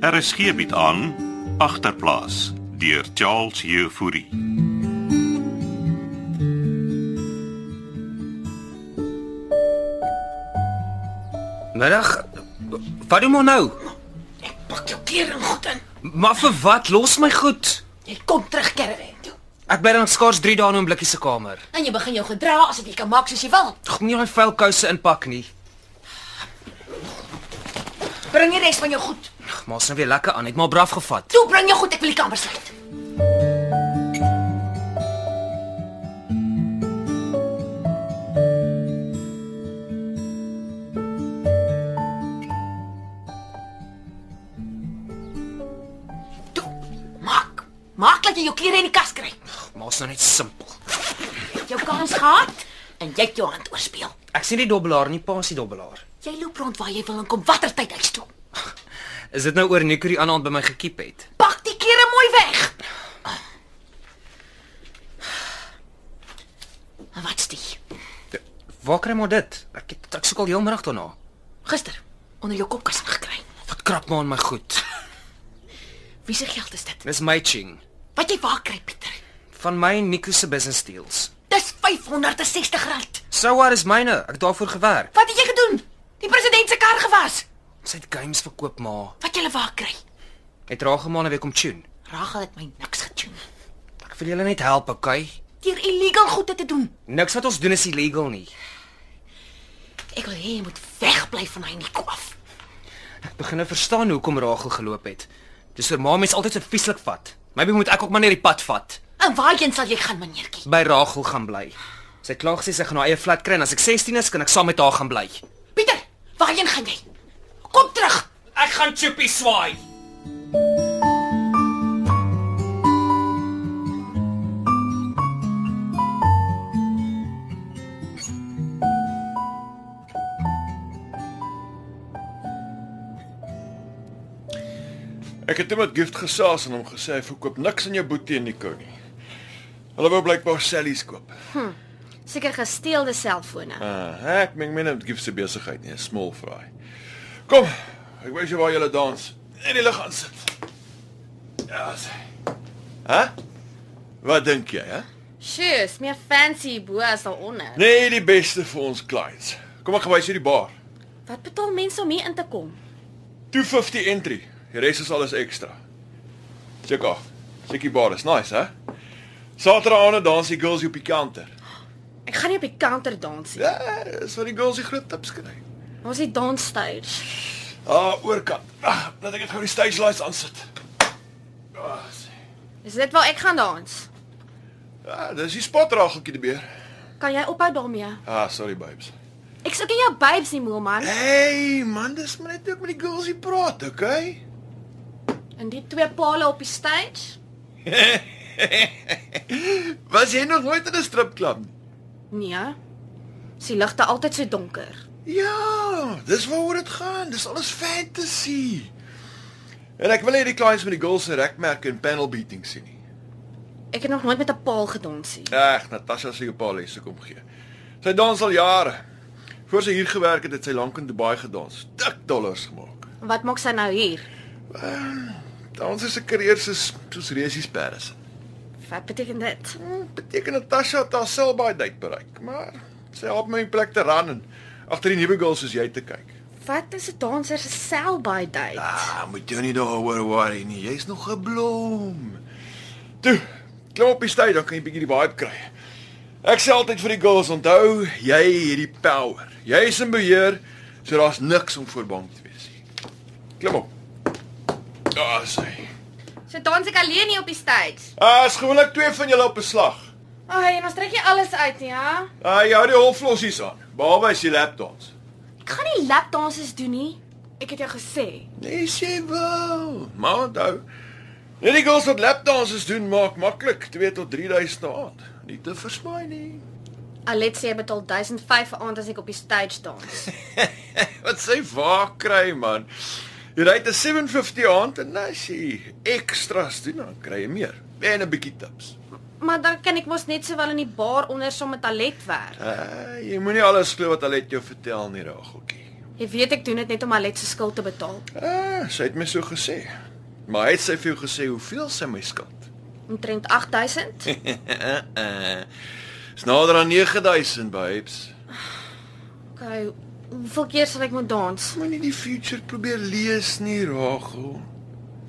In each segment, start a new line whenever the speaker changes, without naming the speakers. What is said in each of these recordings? RSG bied Er aan agterplaas deur Charles Jefouri.
Middag. Wat doen ons nou?
Pak jou klere en goed in.
Maar vir wat? Los my goed.
Jy kom terug kerwe toe.
Ek bly dan skaars 3 dae in 'n blikkie se kamer.
En jy begin jou gedra asof jy kan maak soos jy wil.
Ek moet nie daai vuil kouse inpak nie.
Bring die res van jou goed.
Ag, maar's nou weer lekker aan. Het maar braaf gevat.
Toe bring jou goed, ek wil die kamer sluit. Toe, maak. Maak dat jy jou klere in die kas kry.
Maar's nou net simpel.
Jou kans gehad en jy het jou hand oorspeel.
Ek sien die dobbelaar nie, pa se dobbelaar.
Jy loop rond waar jy wil en kom watter tyd huis toe.
Is dit nou oor Nico die ander aand by my gekiep het?
Pak die klere mooi weg. En wat's dit?
Waar kry maar dit? Ek het, ek soek al heelmiddag daarna.
Gister onder jou kopkas gekry.
Wat krap maar in my goed.
Wie se geld is dit?
Dis my ching
Wat jy waar kry, Pieter?
van my en Nico se business deals.
Dis R560.
So wat is myne? Ek het daarvoor gewerk.
Wat het jy gedoen? Die president se kar gewas.
Sy het games verkoop maar.
Wat jy waar kry?
Het raag gemaak en weer kom tune.
Rachel het my niks getune.
Ek wil julle net help, okay?
Deur illegal goede te doen.
Niks wat ons doen is illegal nie.
Ek wil hê jy moet wegbly van hy Nico af.
Ek begin nou verstaan hoekom Rachel geloop het. Dis oor ma mens altyd so vieslik vat. Maybe moet ek ook maar net die pad vat.
En waarheen sal jy gaan, meneertjie?
By Rachel gaan bly. Sy klaag sê sy gaan haar eie flat kry en as ek 16 is, kan ek saam met haar gaan bly.
Pieter, waarheen gaan jy? Kom terug.
Ek gaan choppie swaai.
Ek het net met Gift gesaas en hom gesê hy verkoop niks in jou boetie en Nico nie. Hulle wou blykbaar Sally's koop.
Hm, Seker gesteelde selfone.
Uh, ek meng my net met Gift se besigheid nie, 'n small fry. Kom, ek wys jou waar jy lê dans. En jy lê gaan sit. Ja, sê. Hæ? Wat dink jy, hè?
Sjoes, meer fancy bo as daaronder. Nee.
Nee, die beste vir ons clients. Kom ek gewys jou die bar.
Wat betaal mense om hier in te kom?
250 entry. Die res is alles ekstra. Check af. Check die bar, is nice, hè? Saterdag aande dans die girls hier op die counter.
Ek gaan nie op die counter dans nie.
Ja, is wat die girls die groot tips kry.
Ons het dansstage.
Ah, oorkant. Ag, laat ek dit gou die stage lights aan sit. Ah, sê.
Is dit waar ek gaan dans?
Ja, dis die spot rageltjie die beer.
Kan jy ophou daarmee?
Ah, sorry babes.
Ek soek nie jou babes nie, Moelman.
Hey, man, dis maar net ook met die girls hier praat, okay?
En die twee palle op die stage?
Was jy nog nooit in 'n stripklub nie?
Nee. Is die ligte altyd so donker?
Ja, dis waaroor dit gaan. Dis alles fantasy. En ek wil hê die clients met die girls se rekmerke en panel beatings sien nie.
Ek het nog nooit met 'n paal gedans nie.
Ag, Natasha se paar lesse kom gee. Sy dans al jare. Voor sy hier gewerk het, het sy lank in Dubai gedans. Dik dollars gemaak.
Wat maak sy nou hier?
Dans is 'n karier soos soos resies Paris.
Wat beteken dit?
Hm, beteken Natasha het haar sell-by date bereik, maar sy help my die plek te ran en agter die nuwe girls soos jy te kyk.
Wat is 'n danser se sell-by date?
Ah, moet jou nie daaroor worry nie. Jy's nog 'n blom. Toe, klim op die stage dan kan jy 'n bietjie die vibe kry. Ek sê altyd vir die girls, onthou, jy het die power. Jy is in beheer, so daar's niks om voor bang te wees nie. Klim op. Daar is hy.
So dans ek alleen nie op die stage.
Ah, is gewoonlik twee van julle op 'n slag.
Ag, en ons trek nie alles uit nie, hè?
Ah, jy hou die holflossies aan, behalwe as jy lapdans.
Ek gaan nie lapdanses doen nie. Ek het jou gesê.
Nee, sy wil. Maar onthou, net die girls wat lapdanses doen maak maklik 2 tot 3000 'n aand. Nie te versmaai nie.
Alet sê jy betaal 1005 'n aand as ek op die stage dans.
Wat sy waar kry man. Jy ry te 750 aand en nou as jy ekstra's doen dan kry jy meer en 'n bietjie tips.
maar dan kan ek mos net sowel in die bar onder saam met Alet werk.
Eh, Uh, jy moenie alles glo wat hulle het jou vertel nie, Rageltjie.
Jy weet ek doen dit net om Alet se skuld te betaal.
Ah, sy het my so gesê. Maar het sy vir jou gesê hoeveel sy my skuld?
Omtrent 8000.
Dis nader aan 9000, babes.
Okay, hoeveel keer sal ek moet dans?
Moenie die future probeer lees nie, Rachel.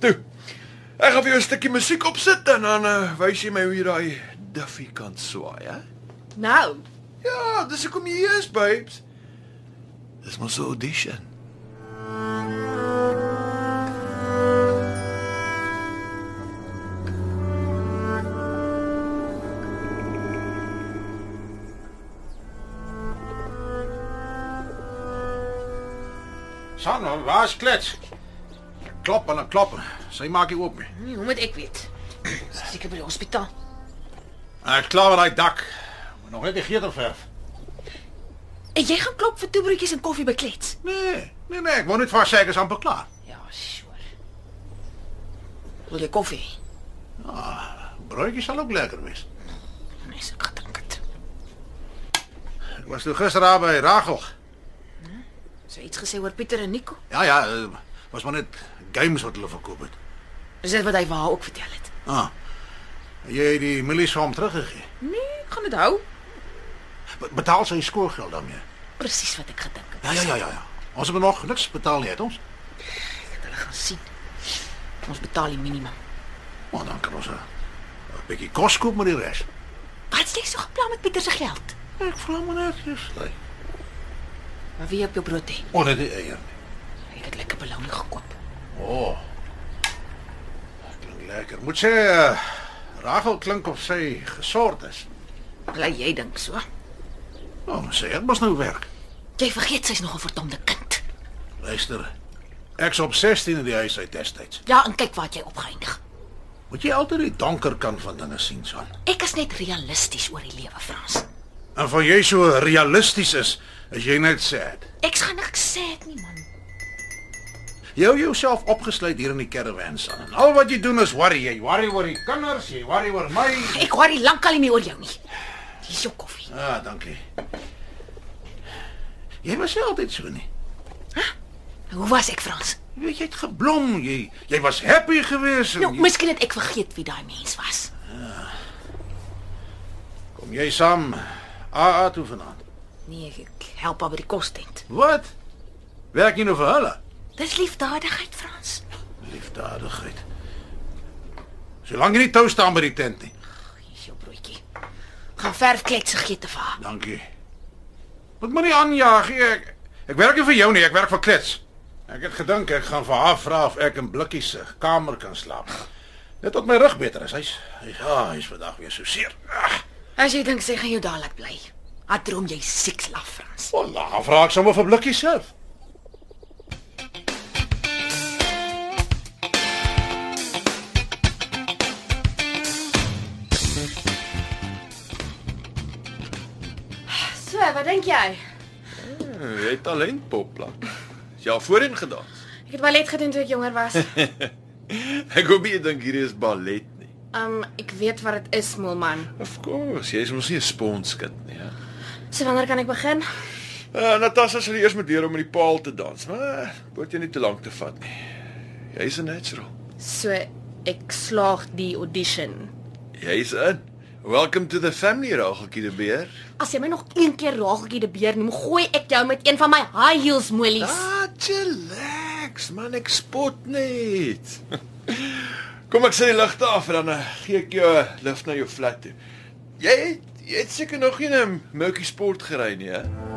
Toe. Ek gaan vir jou 'n stukkie musiek opsit en dan uh, wys jy my hoe jy daai duffie kan swaai, hè?
Nou,
Ja,
dus
dis hoekom jy hier is, babes. Dis mos 'n audition.
Sanne, waar's klets? Klop en dan klop. en Sy maak nie oop nie.
Nee, hoe moet ek weet? Sy is Seker by die hospitaal.
Ek klaar met daai dak. Moet nog net die geelverf.
En jy gaan klop vir toebroodjies en koffie beklets.
Nee, nee nee, ek wou net vas sê ek is amper klaar.
Ja, sure. Wil jy koffie?
Broodjie sal ook lekker wees.
Nee, so ek gedink het.
Ek was toe gisteraand by Rachel.
So iets gesê oor Pieter en Nico.
Ja ja, eh, was maar net games wat hulle verkoop het.
Is dit wat hy vir haar ook vertel het?
Ah. Jy het die milies vir hom teruggegee.
Nee, ek gaan dit hou.
Be- Betaal sy skoolgeld daarmee.
Presies wat ek gedink het.
Ja ja ja ja. ja. Ons het nog niks betaal nie, het ons?
Hulle gaan sien. Ons betaal die minimum.
Maar dan kan ons 'n- 'n bietjie kos koop met die res.
Wat is jy so geplan met Pieter se geld?
Ek vra maar net eers.
Maar wie op jou brood hê?
Onder die eier.
Ek het lekker belang gekoop.
Oh. Klink lekker. Moet sê uh, Rachel klink of sy gesort is.
Bly jy dink so?
Nou, oh, sê ek mos nou werk.
Jy vergeet sy's nog 'n verdomde kind.
Luister. Ek's op 16 in die huis uit destyds.
Ja, en kyk waar jy opgeëindig.
Moet jy altyd die donker kant van dinge sien, son.
Ek is net realisties oor die lewe, Frans.
En van jy so realisties is, as jy net sad.
Ek gaan niks sê dit nie, man.
Jy hou jouself opgesluit hier in die caravan, son. En al wat jy doen is worry. Jy worry oor die kinders, jy worry oor my.
Ek hoor nie lankal nie meer oor jou nie. Hier is jou koffie.
Ah, dankie. Jy was nie altyd so nie.
Hoe was ek, Frans?
Jy weet jy het geblom, jy jy was happy geweest. en
Nou,
jy-
miskien het ek vergeet wie daai mens was.
Kom jy saam AA toe vanaand?
Nee, ek help haar by die kostent.
Wat? Werk jy nou vir hulle?
Dis liefdadigheid, Frans.
Liefdadigheid. Solank jy nie tou staan by die tent nie.
Hier is jou broodjie. Gaan verf klets geete vir haar.
Dankie. Wat moet nie aanjaag nie. Ek ek werk nie vir jou nie, ek werk vir Klets. Ek het gedink ek gaan vir haar vra of ek in blikkies se kamer kan slaap. Net tot my rug beter is. Hy's hy's ja, hy's vandag weer so seer. Ah,
As jy dink sy gaan jou daar laat bly. Haar droom jy siek slaaf, Frans.
Voilà, vra ek sommer vir blikkies self.
So, wat dink jy?
Uh, Jy het talent, Popla. Ja, voorheen gedaan.
Ek het ballet gedoen toe ek jonger was.
Ek hoop nie jy dink hierdie is ballet nie.
Um ek weet wat dit is, Moelman.
Of course, jy is mos nie 'n sponskind nie, hè.
So wanneer kan ek begin?
Uh, Natasha sal eers moet leer om met die paal te dans, maar moet jy nie te lank te vat nie. Jy's 'n natural.
So ek slaag die audition.
Jy's in. Welcome to the family, Rageltjie de Beer.
As jy my nog een keer Rageltjie die beer noem, gooi ek jou met een van my high heels molies.
Ah, chillax, man, ek spot net. Kom ek sit die ligte af en dan eh, gee ek jou 'n lift na jou flat toe. Jy het, jy het seker nog nie 'n Milky Sport gery nie, hè?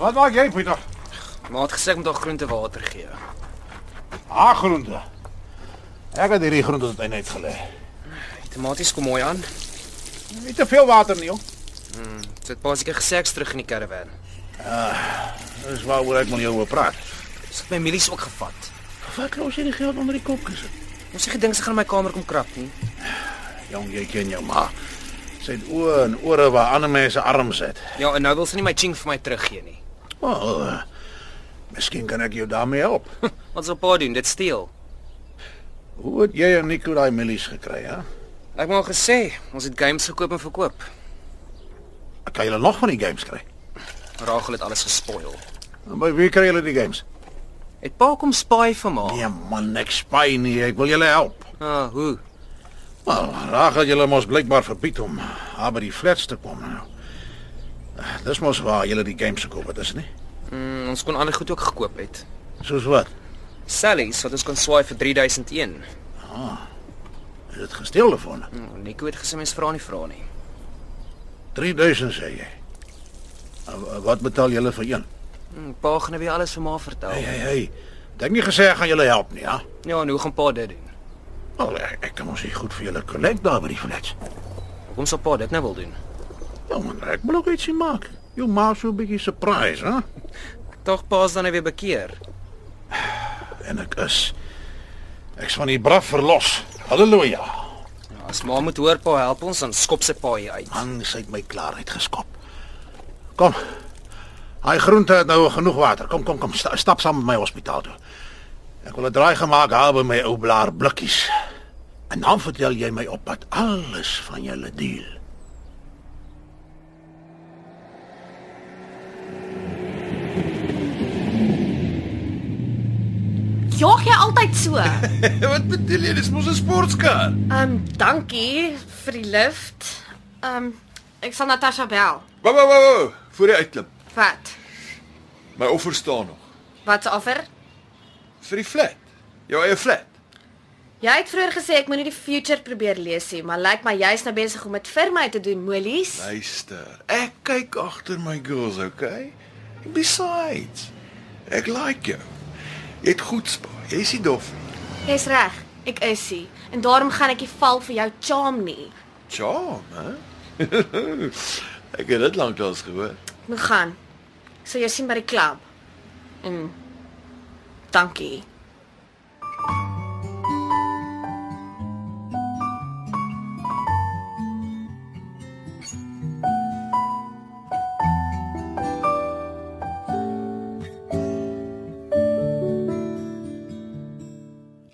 Wat maak jy, Pieter?
Maat gesê ek moet haar groente water gee.
Ah, groente. Ek het hierdie groente tot eenheid gelê.
Die tomaties kom mooi aan.
Nie te veel water nie, joh.
Dit het basies gesê ek's terug in die karavan.
Dis waaroor ek met jou wil praat.
Dis het my milies ook gevat.
Wat los jy die geld onder die kop gesit?
Ons het gedink sy gaan in my kamer kom krap nie.
Jong, jy ken jou ma. Sy het oë en ore waar ander mense arms het.
Ja, en nou wil sy nie my ching vir my teruggee nie.
Wel, eh, Miskien kan ek jou daarmee help.
Wat sal pa doen? Dit steel.
Hoe het jy en Nico daai milies gekry, hè?
Ek het al gesê, ons het games gekoop en verkoop.
Kan julle nog van die games kry?
Rachel het alles gespoil.
En by wie kry julle die games?
Het pa kom spy vir ma.
Nee man, ek spy nie. Ek wil julle help.
Ja. Ah, hoe?
Wel, Rachel julle mos blykbaar verbied om haar by die flats te kom nou. Eh, Dis mos waar julle die games gekoop het, is dit nie?
Mm, ons kon ander goed ook gekoop het.
Soos wat?
Sally's wat ons kon swaai vir 3001.
Is dit gesteel daarvan?
Oh, Nico het gesê mens vra nie vra nie.
3000 sê jy. En wa- Wat betaal julle vir een?
Mm, pa gaan nou weer alles vir ma vertel.
Hey, hey, hey. Dink nie gesê ek gaan julle help nie, ja?
Ja, en hoe gaan pa dit doen?
Wel, ek, ek kan mos nie goed vir julle collect daar by die flats.
Hoekom sal pa dit nou wil doen?
Ja man, ek moet ook ietsie maak. Jou ma so 'n bietjie surprise, hè?
Tog pa's dan nou weer bekeer.
En ek is ek's van die braaf verlos. Halleluja.
Ja, as ma moet hoor pa help ons dan skop sy pa hier uit.
Man, sy het my klaar uitgeskop. Kom. Hy groente het nou genoeg water. Kom, kom, kom. Sta, stap saam met my hospitaal toe. Ek wil 'n draai gemaak haal by my ou blaar blikkies. En dan vertel jy my op pad alles van julle deal.
Jog jy altyd so?
Wat bedoel jy? Dis mos 'n sportkar.
Ehm dankie vir die lift. Ehm ek sal Natasha bel.
Wou wou wou, wou, voor jy uitklim.
Wat?
My offer staan nog.
Wat se offer?
Vir die flat. Jou eie flat.
Jy het vroeër gesê ek moenie die future probeer lees nie, maar lyk my jy's nou besig om dit vir my te doen, Molies.
Luister, ek kyk agter my girls, okay? And besides, ek like jou. Jy het goed spaar. Jy's nie dof nie.
Jy's reg. Ek is ie. En daarom gaan ek nie val vir jou charm nie.
Charm, hè? ek het dit lanklaas gehoor.
Ek moet gaan. Ek sal jou sien by die klub. En dankie.